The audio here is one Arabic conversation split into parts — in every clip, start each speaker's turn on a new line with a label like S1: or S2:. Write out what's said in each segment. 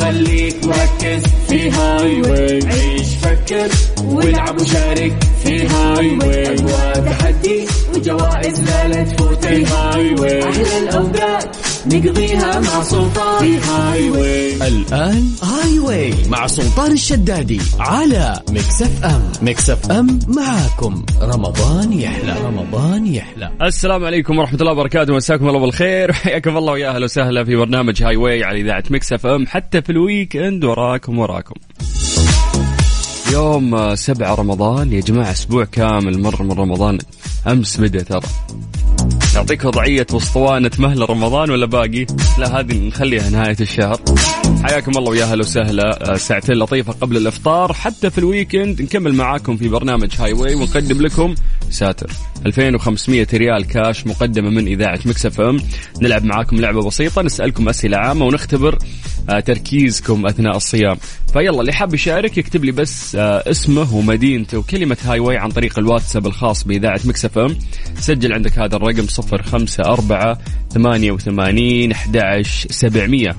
S1: خليك مركز في هاي واي عيش فكر والعب وشارك في هاي واي أقوى تحدي وجوائز لا لا تفوت الهاي واي أحلى الأوقات نقضيها مع سلطان في هاي واي
S2: الآن هاي واي مع سلطان الشدادي على ميكس اف ام ميكس اف ام معاكم رمضان يحلى رمضان يحلى
S3: السلام عليكم ورحمة الله وبركاته مساكم الله بالخير وحياكم الله ويا اهلا وسهلا في برنامج هاي واي على اذاعة مكس اف ام حتى في الويك اند وراكم وراكم. يوم 7 رمضان يا جماعة اسبوع كامل مر من رمضان امس بدا ترى. نعطيك وضعية وسطوانة مهل رمضان ولا باقي؟ لا هذه نخليها نهاية الشهر. حياكم الله ويا اهلا وسهلا آه، ساعتين لطيفة قبل الافطار حتى في الويكند نكمل معاكم في برنامج هاي واي ونقدم لكم ساتر 2500 ريال كاش مقدمة من اذاعة مكس اف ام نلعب معاكم لعبة بسيطة نسألكم اسئلة عامة ونختبر آه، تركيزكم اثناء الصيام. فيلا اللي حاب يشارك يكتب لي بس آه، اسمه ومدينته وكلمة هاي واي عن طريق الواتساب الخاص بإذاعة مكس اف ام سجل عندك هذا الرقم 054 88 11 700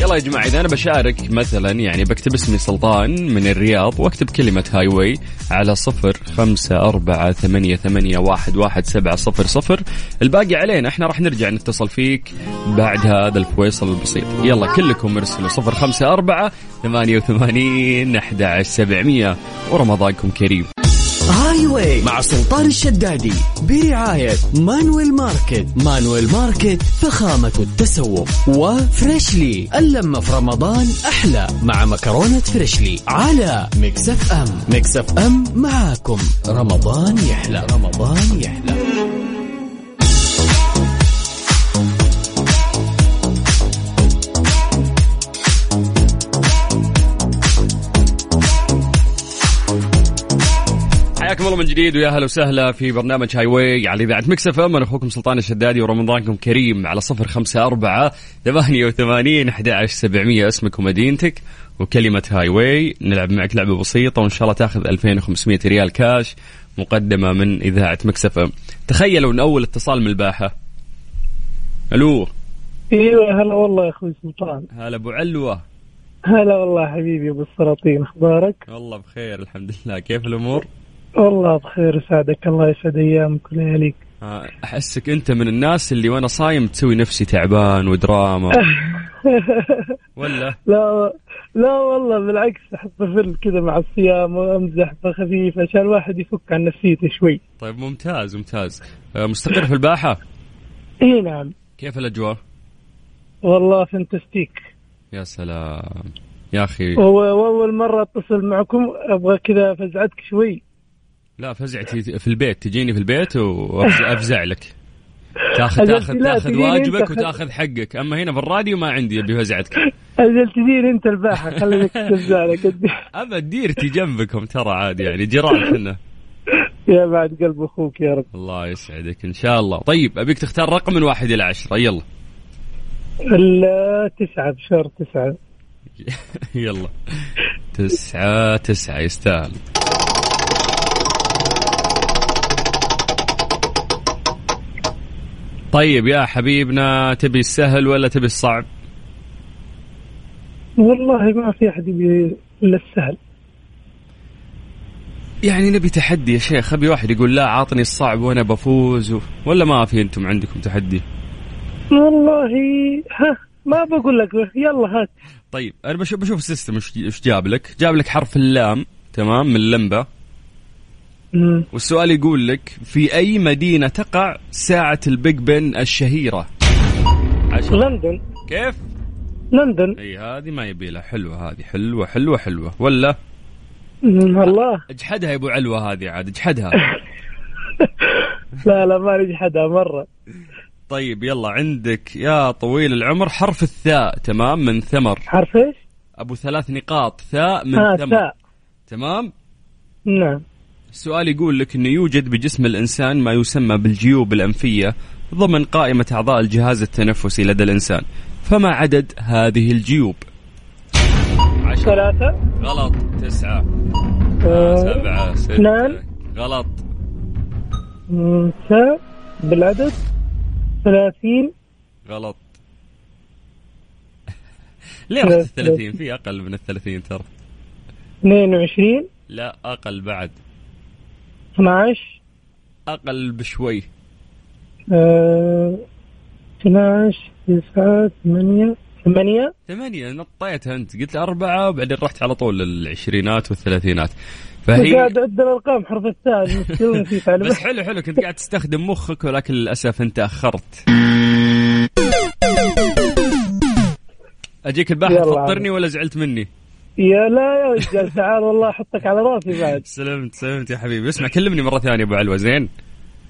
S3: يلا يا جماعة إذا أنا بشارك مثلا يعني بكتب اسمي سلطان من الرياض وأكتب كلمة هاي واي على صفر خمسة أربعة ثمانية, ثمانية واحد, واحد سبعة صفر صفر الباقي علينا إحنا راح نرجع نتصل فيك بعد هذا الفويصل البسيط يلا كلكم ارسلوا صفر خمسة أربعة ثمانية وثمانين أحد عشر سبعمية ورمضانكم كريم
S2: هاي واي مع سلطان الشدادي برعاية مانويل ماركت مانويل ماركت فخامة التسوق وفريشلي اللمة في رمضان أحلى مع مكرونة فريشلي على ميكس اف ام ميكس اف ام معاكم رمضان يحلى رمضان يحلى
S3: حياكم الله من جديد ويا اهلا وسهلا في برنامج يعني هاي واي على اذاعه مكس اف ام انا اخوكم سلطان الشدادي ورمضانكم كريم على 054 88 11700 اسمك ومدينتك وكلمه هاي واي نلعب معك لعبه بسيطه وان شاء الله تاخذ 2500 ريال كاش مقدمه من اذاعه مكس اف ام تخيلوا ان اول اتصال من الباحه الو
S4: ايوه هلا والله يا اخوي سلطان
S3: هلا ابو علوه
S4: هلا والله حبيبي ابو السلاطين اخبارك؟
S3: والله بخير الحمد لله كيف الامور
S4: والله بخير يسعدك الله يسعد ايامك ولياليك
S3: آه، احسك انت من الناس اللي وانا صايم تسوي نفسي تعبان ودراما ولا
S4: لا لا والله بالعكس احب افل كذا مع الصيام وامزح بخفيف عشان الواحد يفك عن نفسيته شوي
S3: طيب ممتاز ممتاز آه، مستقر في الباحه
S4: اي نعم
S3: كيف الاجواء
S4: والله فانتستيك
S3: يا سلام يا اخي
S4: و- واول مره اتصل معكم ابغى كذا افزعتك شوي
S3: لا فزعتي في البيت تجيني في البيت وافزع لك تاخذ
S4: أجل
S3: تاخذ
S4: لا،
S3: تاخذ
S4: تجيني أنت
S3: واجبك
S4: خل-
S3: وتاخذ حقك اما هنا في الراديو ما عندي ابي فزعتك
S4: اجل تدير انت الباحه خليك تفزع لك
S3: ابى ديرتي جنبكم ترى عادي يعني جيران كنا
S4: يا بعد قلب اخوك يا رب
S3: الله يسعدك ان شاء الله طيب ابيك تختار رقم من واحد الى عشرة يلا
S4: ال- تسعة بشهر تسعة
S3: يلا تسعة تسعة يستاهل طيب يا حبيبنا تبي السهل ولا تبي الصعب
S4: والله ما في احد يبي الا السهل
S3: يعني نبي تحدي يا شيخ ابي واحد يقول لا عاطني الصعب وانا بفوز و... ولا ما في انتم عندكم تحدي
S4: والله ها ما بقول لك يلا هات
S3: طيب انا بشوف بشوف السيستم ايش ايش جاب لك جاب لك حرف اللام تمام من لمبه
S4: مم.
S3: والسؤال يقول لك في اي مدينه تقع ساعه البيج بن الشهيره عشان
S4: لندن
S3: كيف
S4: لندن
S3: اي هذه ما يبي لها حلوه هذه حلوه حلوه حلوه ولا
S4: مم، الله
S3: اجحدها يا ابو علوه هذه عاد اجحدها
S4: لا لا ما نجحدها مره
S3: طيب يلا عندك يا طويل العمر حرف الثاء تمام من ثمر
S4: حرف ايش؟
S3: ابو ثلاث نقاط ثاء من
S4: ها
S3: آه ثمر
S4: تاء
S3: تمام
S4: نعم
S3: السؤال يقول لك انه يوجد بجسم الانسان ما يسمى بالجيوب الانفيه ضمن قائمه اعضاء الجهاز التنفسي لدى الانسان فما عدد هذه الجيوب عشرة
S4: ثلاثة
S3: غلط تسعة
S4: آه،
S3: سبعة ستة
S4: اثنان.
S3: غلط
S4: مساء بالعدد 30
S3: غلط ليه رحت الثلاثين في أقل من الثلاثين ترى
S4: 22
S3: لا أقل بعد
S4: 12
S3: أقل بشوي
S4: آه، 12 9 8 8
S3: ثمانية نطيتها أنت قلت أربعة وبعدين رحت على طول للعشرينات والثلاثينات فهي
S4: قاعد أعد الأرقام حرف التاء المشكلة نسيت على
S3: بس حلو حلو كنت قاعد تستخدم مخك ولكن للأسف أنت أخرت أجيك الباحة
S4: يلا.
S3: تفطرني ولا زعلت مني
S4: يا لا يا رجال تعال والله أحطك على راسي بعد
S3: سلمت سلمت يا حبيبي اسمع كلمني مرة ثانية أبو علوة زين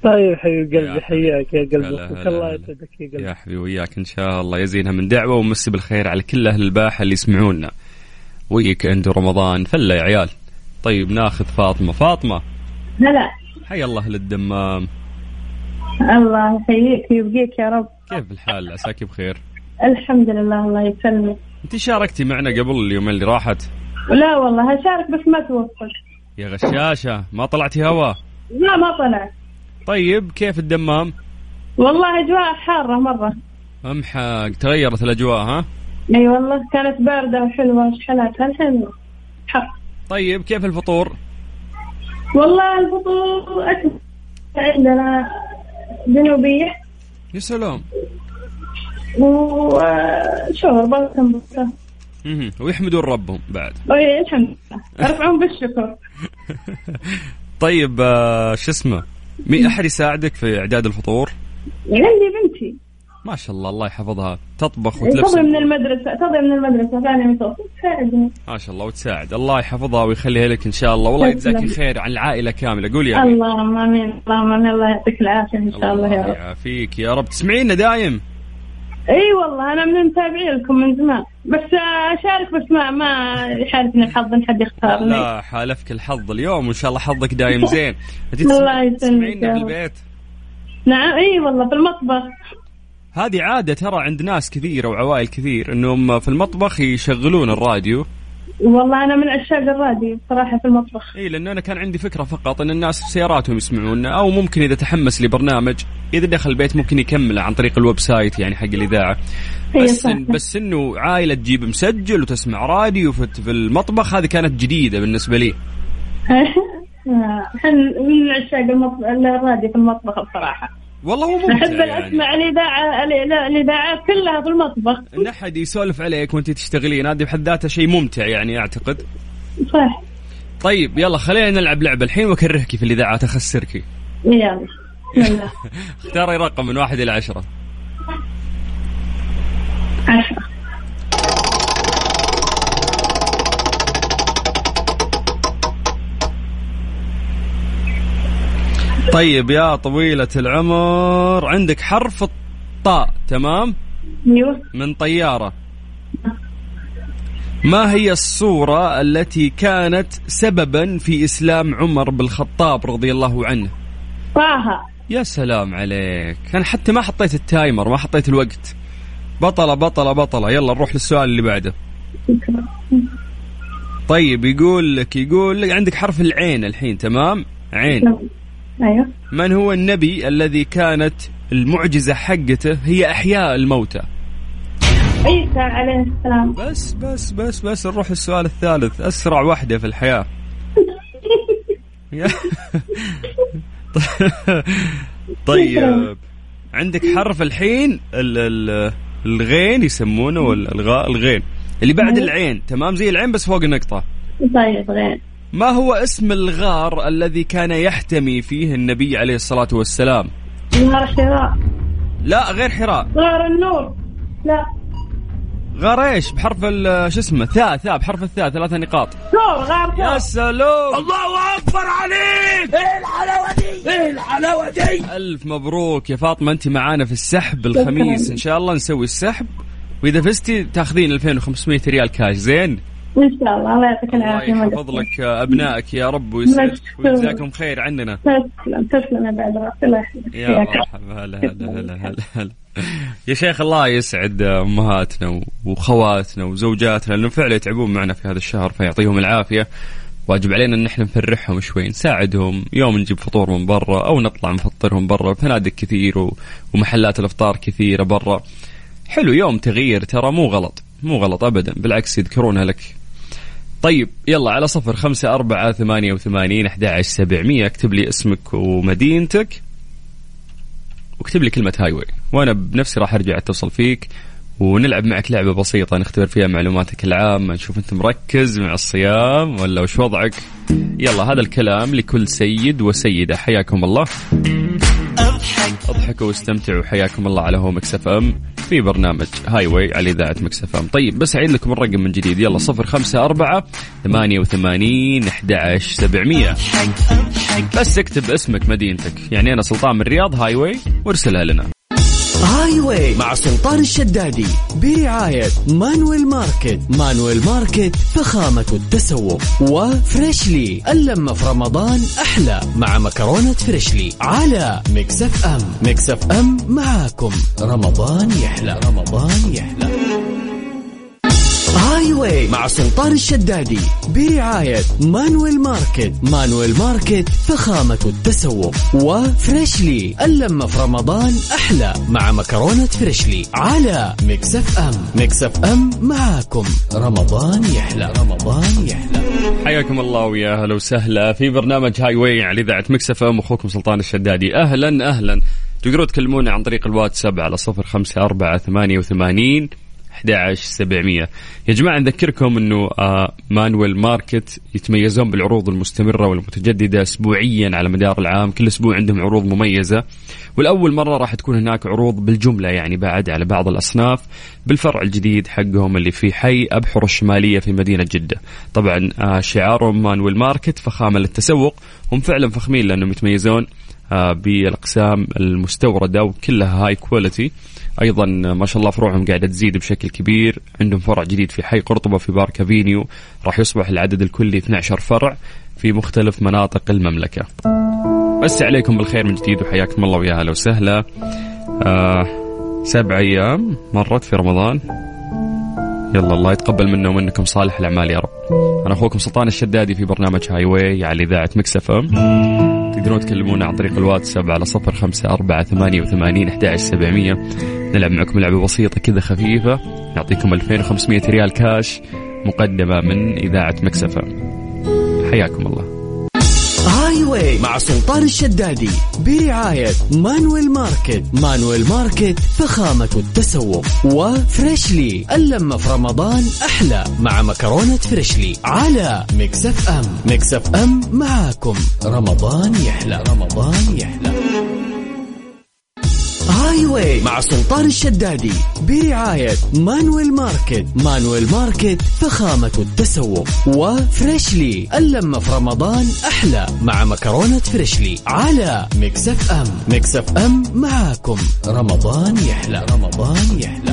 S4: طيب حبيب
S3: يا
S4: قلبي حياك يا
S3: هلا،
S4: قلبي أخوك
S3: هلا،
S4: الله
S3: هلا.
S4: يسعدك يا قلبي
S3: يا حبيبي وياك ان شاء الله يزينها من دعوه ومسي بالخير على كل اهل الباحه اللي يسمعونا ويك اند رمضان فله يا عيال طيب ناخذ فاطمه فاطمه
S5: هلا
S3: حي الله للدمام
S5: الله يحييك ويبقيك يا رب
S3: كيف الحال عساك بخير
S5: الحمد لله الله يسلمك
S3: انت شاركتي معنا قبل اليومين اللي راحت
S5: لا والله هشارك بس ما توفق
S3: يا غشاشه ما طلعتي هوا
S5: لا ما طلع
S3: طيب كيف الدمام
S5: والله اجواء حاره مره
S3: امحى تغيرت الاجواء ها
S5: اي والله كانت بارده وحلوه وشحناتها الحين حر
S3: طيب كيف الفطور
S5: والله الفطور أكل عندنا جنوبيه
S3: يا سلام
S5: وشوربه وسمبوسه
S3: مهم. ويحمدون ربهم بعد
S5: اي الحمد لله ارفعون بالشكر
S3: طيب آه، شو اسمه مي احد يساعدك في اعداد الفطور
S5: عندي بنتي
S3: ما شاء الله الله يحفظها تطبخ وتلبس
S5: تضي من المدرسه تضي من المدرسه ثانيه متوسط تساعدني
S3: ما شاء الله وتساعد الله يحفظها ويخليها لك ان شاء الله والله
S5: تسلم.
S3: يجزاك خير عن العائله كامله قول يا أمين.
S5: اللهم امين اللهم امين الله يعطيك العافيه ان شاء الله يا رب
S3: يعافيك يا رب تسمعينا دايم
S5: اي والله انا من متابعين لكم من زمان بس آه، اشارك بس ما ما يحالفني الحظ ان حد يختارني
S3: لا حالفك الحظ اليوم وان شاء الله حظك دايم زين أجي
S5: الله
S3: تسمع-
S5: يسلمك
S3: تسمعينا
S5: يا
S3: في
S5: رب.
S3: البيت
S5: نعم اي والله في المطبخ
S3: هذه عادة ترى عند ناس كثير وعوائل كثير انهم في المطبخ يشغلون الراديو
S5: والله انا من عشاق الراديو صراحه في المطبخ
S3: اي لانه انا كان عندي فكرة فقط ان الناس في سياراتهم يسمعونا او ممكن اذا تحمس لبرنامج اذا دخل البيت ممكن يكمل عن طريق الويب سايت يعني حق الاذاعة
S5: هي
S3: بس
S5: إيه، صح.
S3: إن بس انه عائله تجيب مسجل وتسمع راديو في في المطبخ هذه كانت جديده بالنسبه لي
S5: آه، احنا من عشاق المطبخ الراديو في المطبخ بصراحه
S3: والله هو
S5: احب
S3: ممتع
S5: يعني.
S3: يعني
S5: اسمع الاذاعه الإذاعة- الاذاعات كلها في المطبخ
S3: ان احد يسولف عليك وانت تشتغلين هذه بحد ذاتها شيء ممتع يعني اعتقد
S5: صح
S3: طيب يلا خلينا نلعب لعبه الحين واكرهك في الاذاعات اخسرك
S5: يلا يلا
S3: اختاري رقم من واحد الى عشره
S5: عشرة
S3: طيب يا طويله العمر عندك حرف الطاء تمام
S5: ايوه
S3: من طياره ما هي الصورة التي كانت سببا في إسلام عمر بن الخطاب رضي الله عنه
S5: طه
S3: يا سلام عليك أنا حتى ما حطيت التايمر ما حطيت الوقت بطلة بطلة بطلة يلا نروح للسؤال اللي بعده طيب يقول لك يقول لك عندك حرف العين الحين تمام عين
S5: ايوه
S3: من هو النبي الذي كانت المعجزة حقته هي أحياء الموتى
S5: عيسى عليه السلام
S3: بس بس بس بس نروح السؤال الثالث أسرع وحدة في الحياة يا- طيب عندك حرف الحين ال ال الغين يسمونه ولا الغاء الغين اللي بعد العين تمام زي العين بس فوق النقطة
S5: طيب غير
S3: ما هو اسم الغار الذي كان يحتمي فيه النبي عليه الصلاة والسلام
S5: نهار حراء
S3: لا غير حراء
S5: نهار النور لا
S3: غار ايش بحرف ال- شو اسمه ثاء ثاء بحرف الثاء ثلاثة نقاط
S5: ثور غار
S3: يا
S5: ثور
S3: سلام الله اكبر عليك ايه الحلاوه دي ايه الحلاوه إيه دي طيب، الف مبروك يا فاطمه انت معانا في السحب الخميس ان شاء الله نسوي السحب واذا فزتي تاخذين 2500 ريال كاش زين
S5: ان شاء الله الله يعطيك
S3: الله
S5: العافيه ما
S3: يحفظ
S5: قصرت.
S3: لك ابنائك يا رب ويسعدك
S5: مشكور.
S3: ويجزاكم خير عننا
S5: تسلم تسلم يا بعد راسي الله يحفظك
S3: يا مرحبا هلا هلا هلا هلا هلا يا شيخ الله يسعد آه، امهاتنا وخواتنا وزوجاتنا لانهم فعلا يتعبون معنا في هذا الشهر فيعطيهم العافيه واجب علينا ان احنا نفرحهم شوي نساعدهم يوم نجيب فطور من برا او نطلع نفطرهم برا فنادق كثير و... ومحلات الافطار كثيره برا حلو يوم تغيير ترى مو غلط مو غلط ابدا بالعكس يذكرونها لك طيب يلا على صفر خمسة أربعة ثمانية وثمانين أحد عشر سبعمية اكتب لي اسمك ومدينتك واكتب لي كلمة هاي واي وأنا بنفسي راح أرجع أتصل فيك ونلعب معك لعبة بسيطة نختبر فيها معلوماتك العامة نشوف أنت مركز مع الصيام ولا وش وضعك يلا هذا الكلام لكل سيد وسيدة حياكم الله اضحكوا واستمتعوا حياكم الله على هو مكسف ام في برنامج هاي واي على اذاعه مكسف ام طيب بس اعيد لكم الرقم من جديد يلا 054 88 11 700 بس اكتب اسمك مدينتك يعني انا سلطان من الرياض هاي واي وارسلها لنا
S2: هاي واي مع سلطان الشدادي برعاية مانويل ماركت مانويل ماركت فخامة التسوق وفريشلي اللمة في رمضان أحلى مع مكرونة فريشلي على مكسف أم مكسف أم معاكم رمضان يحلى رمضان يحلى هاي واي مع سلطان الشدادي برعاية مانويل ماركت مانويل ماركت فخامة التسوق وفريشلي اللمة في رمضان أحلى مع مكرونة فريشلي على مكسف أم مكسف أم معاكم رمضان يحلى رمضان يحلى
S3: حياكم الله ويا اهلا وسهلا في برنامج هاي واي على اذاعه مكسف ام اخوكم سلطان الشدادي اهلا اهلا تقدروا تكلمونا عن طريق الواتساب على 054 88 11700 يا جماعة نذكركم أنه آه، مانويل ماركت يتميزون بالعروض المستمرة والمتجددة أسبوعيا على مدار العام كل أسبوع عندهم عروض مميزة والأول مرة راح تكون هناك عروض بالجملة يعني بعد على بعض الأصناف بالفرع الجديد حقهم اللي في حي أبحر الشمالية في مدينة جدة طبعا آه، شعارهم مانويل ماركت فخامة للتسوق هم فعلا فخمين لأنهم يتميزون آه، بالاقسام المستورده وكلها هاي كواليتي ايضا آه، ما شاء الله فروعهم قاعده تزيد بشكل كبير عندهم فرع جديد في حي قرطبه في بارك افينيو راح يصبح العدد الكلي 12 فرع في مختلف مناطق المملكه بس عليكم بالخير من جديد وحياكم الله ويا اهلا وسهلا آه سبع ايام مرت في رمضان يلا الله يتقبل منا ومنكم صالح الاعمال يا رب انا اخوكم سلطان الشدادي في برنامج هاي واي على اذاعه مكسف ام تقدرون تكلمونا عن طريق الواتساب على صفر خمسة أربعة ثمانية وثمانين أحد سبعمية نلعب معكم لعبة بسيطة كذا خفيفة نعطيكم 2500 ريال كاش مقدمة من إذاعة مكسفة حياكم الله
S2: هاي واي مع سلطان الشدادي برعاية مانويل ماركت مانويل ماركت فخامة التسوق وفريشلي اللمة في رمضان أحلى مع مكرونة فريشلي على مكسف أم مكسف أم معاكم رمضان يحلى رمضان يحلى هاي واي مع سلطان الشدادي برعاية مانويل ماركت مانويل ماركت فخامة التسوق وفريشلي اللمة في رمضان أحلى مع مكرونة فريشلي على مكسف أم مكسف أم معاكم رمضان يحلى رمضان يحلى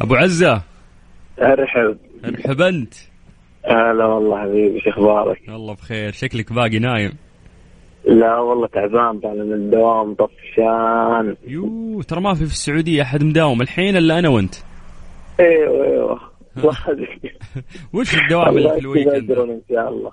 S3: أبو عزة
S6: ارحب
S3: مرحبا أنت
S6: هلا والله حبيبي شو اخبارك؟
S3: الله بخير شكلك باقي نايم
S6: لا والله تعبان طالع من الدوام طفشان
S3: يو ترى ما في في السعودية أحد مداوم الحين إلا أنا وأنت
S6: ايوه ايوه وحدك
S3: وش الدوام اللي في الويكند
S6: ان شاء الله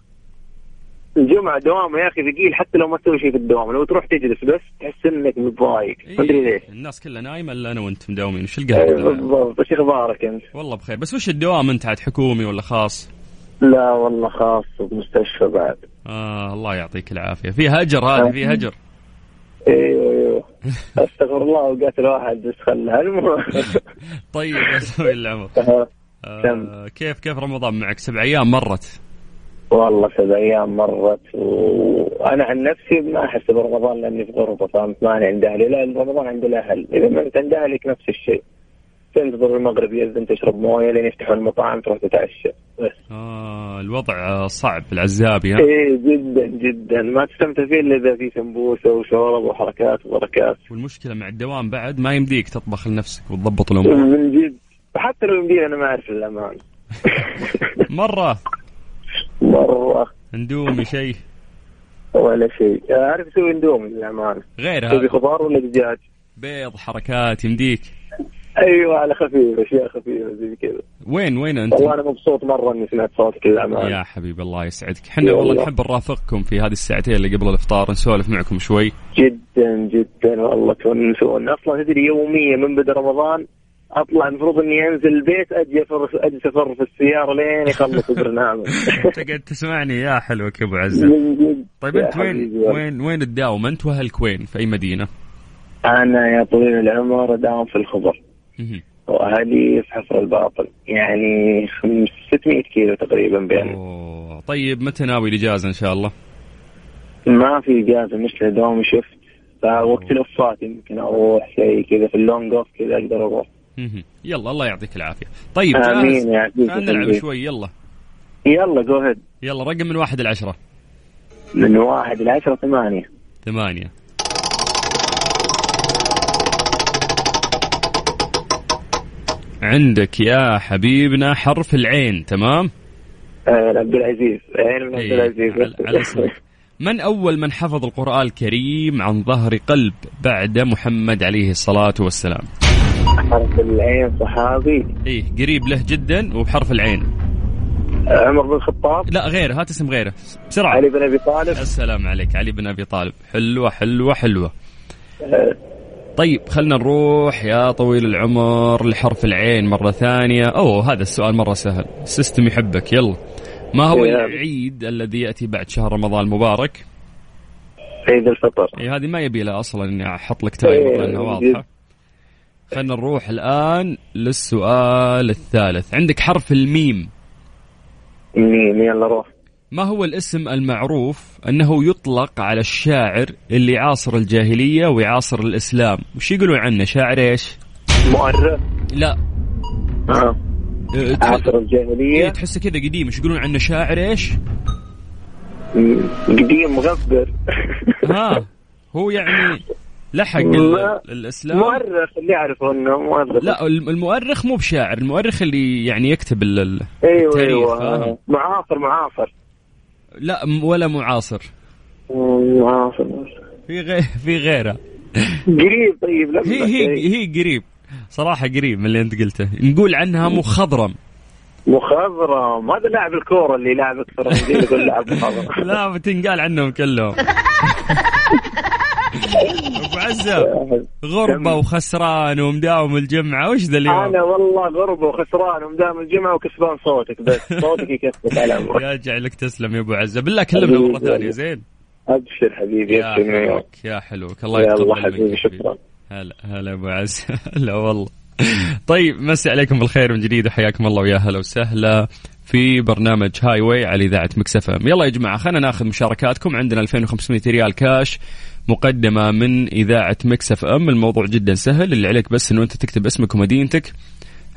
S6: الجمعة دوام يا اخي ثقيل حتى لو ما تسوي شيء في الدوام لو تروح تجلس بس تحس انك متضايق ما ادري ليش
S3: إيه، الناس كلها نايمة إلا أنا وأنت مداومين وش
S6: إيه،
S3: القهوة
S6: بالضبط وش اخبارك انت؟
S3: والله بخير بس وش الدوام أنت عاد حكومي ولا خاص
S6: لا والله خاص بمستشفى بعد
S3: آه الله يعطيك العافية في هجر هذه في هجر
S6: ايوه ايوه استغفر الله اوقات الواحد بس خلها المهم
S3: طيب يا سوي العمر آه
S6: تم.
S3: كيف كيف رمضان معك سبع أيام مرت
S6: والله سبع ايام مرت وانا عن نفسي ما احس برمضان لاني في غربه فهمت ماني عند اهلي لا رمضان عند الاهل اذا ما انت عند اهلك نفس الشيء تنتظر المغرب يأذن تشرب مويه لين يفتحوا المطاعم تروح تتعشى بس
S3: آه الوضع آه، صعب العزابي ها
S6: ايه جدا جدا ما تستمتع فيه الا اذا في سمبوسه وشوربه وحركات وبركات
S3: والمشكلة مع الدوام بعد ما يمديك تطبخ لنفسك وتضبط الأمور
S6: من جد حتى لو يمديني انا ما اعرف الامان إيه.
S3: مرة
S6: مره
S3: اندومي شيء
S6: ولا شيء يعني اعرف اسوي اندومي للامان
S3: غير
S6: تبي
S3: هذا
S6: خضار ولا دجاج؟
S3: بيض حركات يمديك
S6: ايوه على خفيف اشياء خفيفه زي كذا
S3: وين وين انت؟
S6: والله انا مبسوط مره اني سمعت صوتك يا عمان
S3: يا حبيب الله يسعدك احنا والله
S6: يلا.
S3: نحب نرافقكم في هذه الساعتين اللي قبل الافطار نسولف معكم شوي
S6: جدا جدا والله تونسون اصلا تدري يوميا من بدا رمضان اطلع المفروض اني انزل البيت اجي افر اجلس افر في السياره لين يخلص البرنامج
S3: تقعد تسمعني يا حلوك يا ابو عزه
S6: من جد.
S3: طيب
S6: يا
S3: انت وين
S6: حبيبي والله.
S3: وين وين تداوم انت واهلك وين في اي مدينه؟
S6: انا يا طويل العمر داوم في الخبر
S3: مهم.
S6: واهلي في حفر الباطن يعني خمس- 600 كيلو تقريبا بين
S3: أوه. طيب متى ناوي الاجازه ان شاء الله؟
S6: ما في اجازه مثل دوم شفت فوقت الوفات يمكن اروح شيء كذا في اللونج اوف كذا اقدر اروح
S3: مهم. يلا الله يعطيك العافيه طيب جاهز؟
S6: امين يا
S3: تعال نلعب
S6: عزيزي
S3: شوي يلا
S6: يلا جو هيد
S3: يلا رقم من واحد لعشره
S6: من واحد لعشرة ثمانية
S3: ثمانيه عندك يا حبيبنا حرف العين تمام؟
S6: آه، عبد العزيز عين من عبد
S3: إيه، على-
S6: العزيز
S3: على اسمك. من أول من حفظ القرآن الكريم عن ظهر قلب بعد محمد عليه الصلاة والسلام
S6: حرف العين صحابي
S3: إيه قريب له جدا وبحرف العين
S6: آه، عمر بن الخطاب
S3: لا غيره هات اسم غيره بسرعة
S6: علي بن ابي طالب
S3: السلام عليك علي بن أبي طالب حلوة حلوة حلوة طيب خلنا نروح يا طويل العمر لحرف العين مرة ثانية أوه هذا السؤال مرة سهل السيستم يحبك يلا ما هو
S6: يا.
S3: العيد الذي يأتي بعد شهر رمضان المبارك
S6: عيد الفطر
S3: اي هذه ما يبي لها اصلا اني احط لك تايمر
S6: إيه،
S3: لانها
S6: جد.
S3: واضحه خلينا نروح الان للسؤال الثالث عندك حرف الميم
S6: مين يلا روح
S3: ما هو الاسم المعروف انه يطلق على الشاعر اللي عاصر الجاهليه ويعاصر الاسلام وش يقولون عنه شاعر ايش
S6: مؤرخ
S3: لا
S6: آه.
S3: أه، تح-
S6: عصر
S3: إيه،
S6: الجاهلية
S3: تحسه كذا قديم ايش يقولون عنه شاعر ايش إيه.
S6: مم، قديم مغبر
S3: ها هو يعني لحق ال-
S6: ما-
S3: الاسلام
S6: مؤرخ اللي اعرفه انه مؤرخ
S3: لا الم- المؤرخ مو بشاعر المؤرخ اللي يعني يكتب ال- ال-
S6: ايوه
S3: التاريخ، فاهم.
S6: ايوه معاصر معاصر
S3: لا م- ولا معاصر
S6: مم، معاصر
S3: في غير في غيره
S6: قريب طيب لما
S3: هي هي هي قريب صراحه قريب من اللي انت قلته نقول عنها مخضرم
S6: مخضرم هذا لاعب الكوره اللي لاعب اكثر من ذي يقول لاعب مخضرم
S3: لا بتنقال عنهم كلهم ابو عزه غربه وخسران ومداوم الجمعه وش ذا اليوم
S6: انا والله غربه وخسران ومدام الجمعه وكسبان صوتك بس صوتك يكسبك على عمرك
S3: يا جعلك تسلم يا ابو عزه بالله كلمنا مره ثانيه زين
S6: ابشر حبيبي
S3: يا
S6: ابشر من يوم.
S3: حلوك يا حلوك الله
S6: يا
S3: يتقبل
S6: الله
S3: منك
S6: حبيبي
S3: يا
S6: شكرا
S3: هلا هلا ابو عز هلا والله طيب مسي عليكم بالخير من جديد وحياكم الله ويا هلا وسهلا في برنامج هاي واي على اذاعه مكس اف ام يلا يا جماعه خلينا ناخذ مشاركاتكم عندنا 2500 ريال كاش مقدمه من اذاعه مكس اف ام الموضوع جدا سهل اللي عليك بس انه انت تكتب اسمك ومدينتك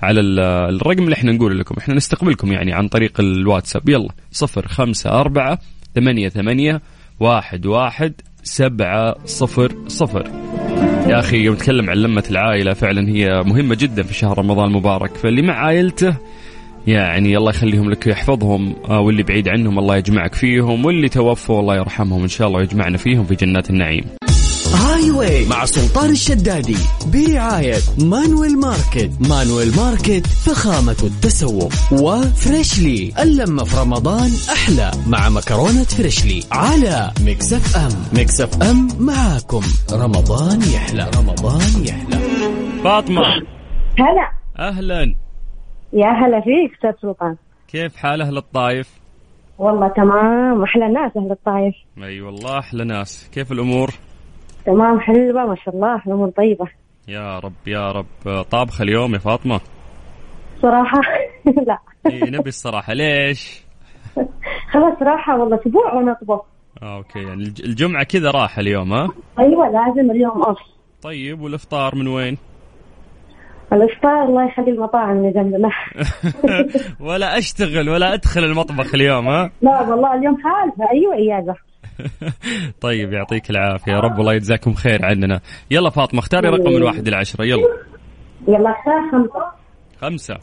S3: على ال- الرقم اللي احنا نقوله لكم احنا نستقبلكم يعني عن طريق الواتساب يلا صفر خمسة أربعة ثمانية ثمانية واحد واحد سبعة صفر صفر يا اخي يوم نتكلم عن لمه العائله فعلا هي مهمه جدا في شهر رمضان المبارك فاللي مع عائلته يعني الله يخليهم لك ويحفظهم آه، واللي بعيد عنهم الله يجمعك فيهم واللي توفوا الله يرحمهم ان شاء الله ويجمعنا فيهم في جنات النعيم
S2: هاي واي مع سلطان الشدادي برعاية مانويل ماركت مانويل ماركت فخامة التسوق وفريشلي اللمة في رمضان أحلى مع مكرونة فريشلي على مكسف أم مكسف أم معاكم رمضان يحلى رمضان يحلى
S3: فاطمه
S5: هلا
S3: اهلا
S5: يا هلا فيك استاذ سلطان
S3: كيف حال اهل الطايف
S5: والله تمام احلى ناس اهل الطايف
S3: اي والله احلى ناس كيف الامور
S5: تمام حلوه ما شاء الله الامور طيبه
S3: يا رب يا رب آه، طابخه اليوم يا فاطمه
S5: صراحه لا
S3: اي نبي الصراحه ليش
S5: خلاص راحه والله اسبوع وانا اطبخ
S3: آه، اوكي يعني الج- الجمعه كذا راح اليوم ها
S5: ايوه لازم اليوم اوف
S3: طيب والافطار من وين
S5: الافطار الله يخلي المطاعم اللي جنبنا
S3: ولا اشتغل ولا ادخل المطبخ اليوم ها
S5: لا والله اليوم حالها ايوه اجازه
S3: طيب يعطيك العافيه يا رب الله يجزاكم خير عننا يلا فاطمه اختاري رقم من واحد الى عشره يلا
S5: يلا الساعه خمسة
S3: خمسه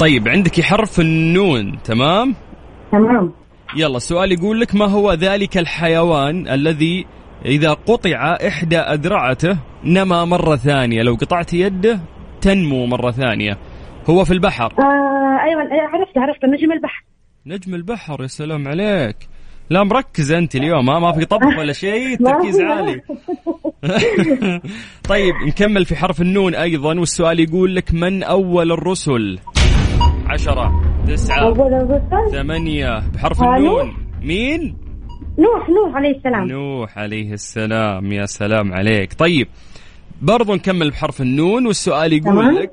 S3: طيب عندك حرف النون تمام
S5: تمام
S3: يلا السؤال يقول لك ما هو ذلك الحيوان الذي إذا قطع إحدى أذرعته نما مرة ثانية لو قطعت يده تنمو مرة ثانية هو في البحر
S5: آه ايوه أيوة، عرفت عرفت نجم البحر
S3: نجم البحر يا سلام عليك لا مركز انت اليوم ها ما في طبخ ولا شيء
S5: ما
S3: تركيز
S5: في.
S3: عالي طيب نكمل في حرف النون ايضا والسؤال يقول لك من اول الرسل عشرة تسعة
S5: اول الرسل
S3: ثمانية بحرف
S5: آه،
S3: النون مين
S5: نوح نوح عليه السلام
S3: نوح عليه السلام يا سلام عليك طيب برضو نكمل بحرف النون والسؤال يقول
S5: تمام.
S3: لك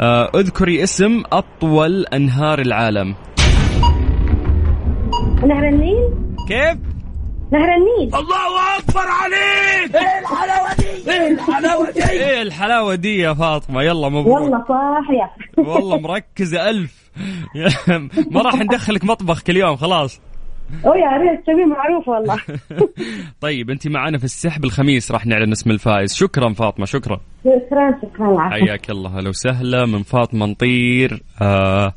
S3: آه، اذكري اسم اطول انهار العالم
S5: نهر النيل
S3: كيف
S5: نهر النيل
S3: ايه الحلاوه دي يا فاطمه يلا مبروك والله,
S5: والله صاحية
S3: والله مركزه ألف ما راح ندخلك مطبخك اليوم خلاص
S5: او يا ريت تسويه معروف والله
S3: طيب انت معنا في السحب الخميس راح نعلن اسم الفائز شكرا فاطمه شكرا
S5: شكرا شكرا العفو
S3: حياك الله هلا وسهلا من فاطمه نطير آه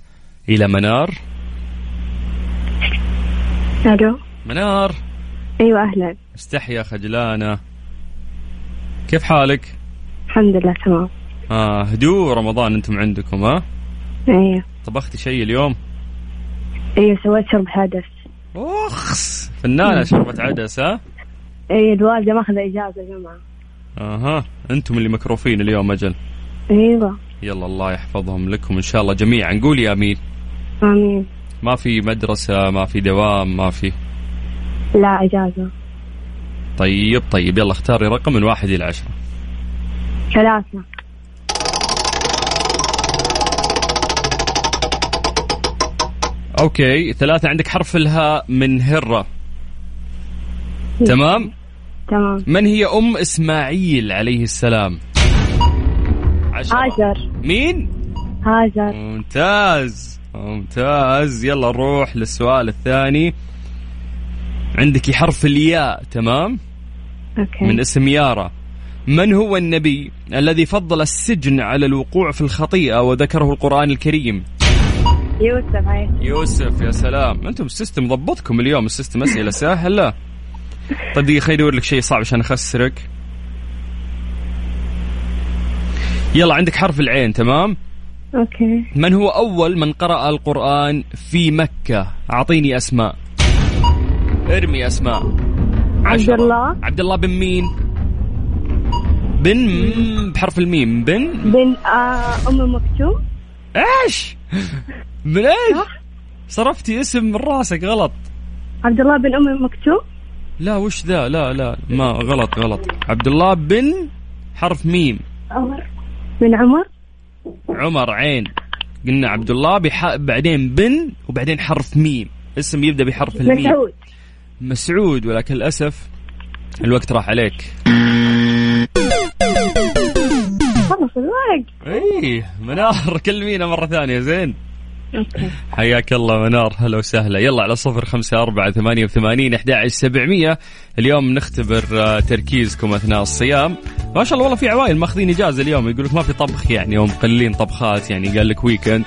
S3: الى منار
S7: الو
S3: منار
S7: ايوه اهلا
S3: استحيا خجلانه كيف حالك؟
S7: الحمد لله تمام
S3: آه هدوء رمضان انتم عندكم ها؟
S7: ايوه
S3: طبختي شيء اليوم؟
S7: ايوه سويت شرب حدث
S3: اوخس فنانه شربت عدس ها؟
S7: ايوه الوالده ماخذه اجازه جمعه
S3: اها انتم اللي مكروفين اليوم اجل
S7: ايوه
S3: يلا الله يحفظهم لكم ان شاء الله جميعا قول يا امين
S7: امين
S3: ما في مدرسه ما في دوام ما في
S7: لا اجازه
S3: طيب طيب يلا اختاري رقم من واحد الى عشره
S7: ثلاثه
S3: اوكي ثلاثه عندك حرف الهاء من هره تمام
S7: تمام
S3: من هي ام اسماعيل عليه السلام عشرة
S7: هاجر
S3: مين
S7: هاجر
S3: ممتاز ممتاز يلا نروح للسؤال الثاني عندك حرف الياء تمام
S7: اوكي
S3: من اسم يارا من هو النبي الذي فضل السجن على الوقوع في الخطيئة وذكره القرآن الكريم
S7: يوسف عايش
S3: يوسف يا سلام انتم السيستم ضبطكم اليوم السيستم أسئلة سهلة طيب دقيقة خليني أدور لك شيء صعب عشان أخسرك يلا عندك حرف العين تمام
S7: اوكي
S3: من هو أول من قرأ القرآن في مكة أعطيني أسماء ارمي أسماء عشرة.
S7: الله.
S3: عبد الله بن مين بن م- بحرف الميم بن
S7: بن آه ام مكتوم
S3: ايش بن ايش صرفتي اسم من راسك غلط
S7: عبد الله بن ام مكتوم
S3: لا وش ذا لا لا ما غلط غلط عبد الله بن حرف ميم
S7: عمر بن عمر
S3: عمر عين قلنا عبد الله بح... بعدين بن وبعدين حرف ميم اسم يبدا بحرف الميم
S7: مسعود
S3: مسعود ولكن للاسف الوقت راح عليك
S7: خلص الوقت
S3: اي إيه، منار كلمينا مره ثانيه زين
S7: اوكي
S3: حياك الله منار هلا وسهلا يلا على صفر خمسة أربعة ثمانية وثمانين أحد سبعمية اليوم نختبر آه، تركيزكم أثناء الصيام ما شاء الله والله في عوائل ماخذين إجازة اليوم يقول لك ما في طبخ يعني أو مقللين طبخات يعني قال لك ويكند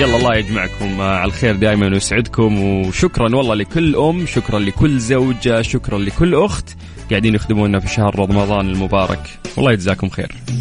S3: يلا الله يجمعكم آه، على الخير دائما ويسعدكم وشكرا والله لكل أم شكرا لكل زوجة شكرا لكل أخت قاعدين يخدمونا في شهر رمضان المبارك والله يجزاكم خير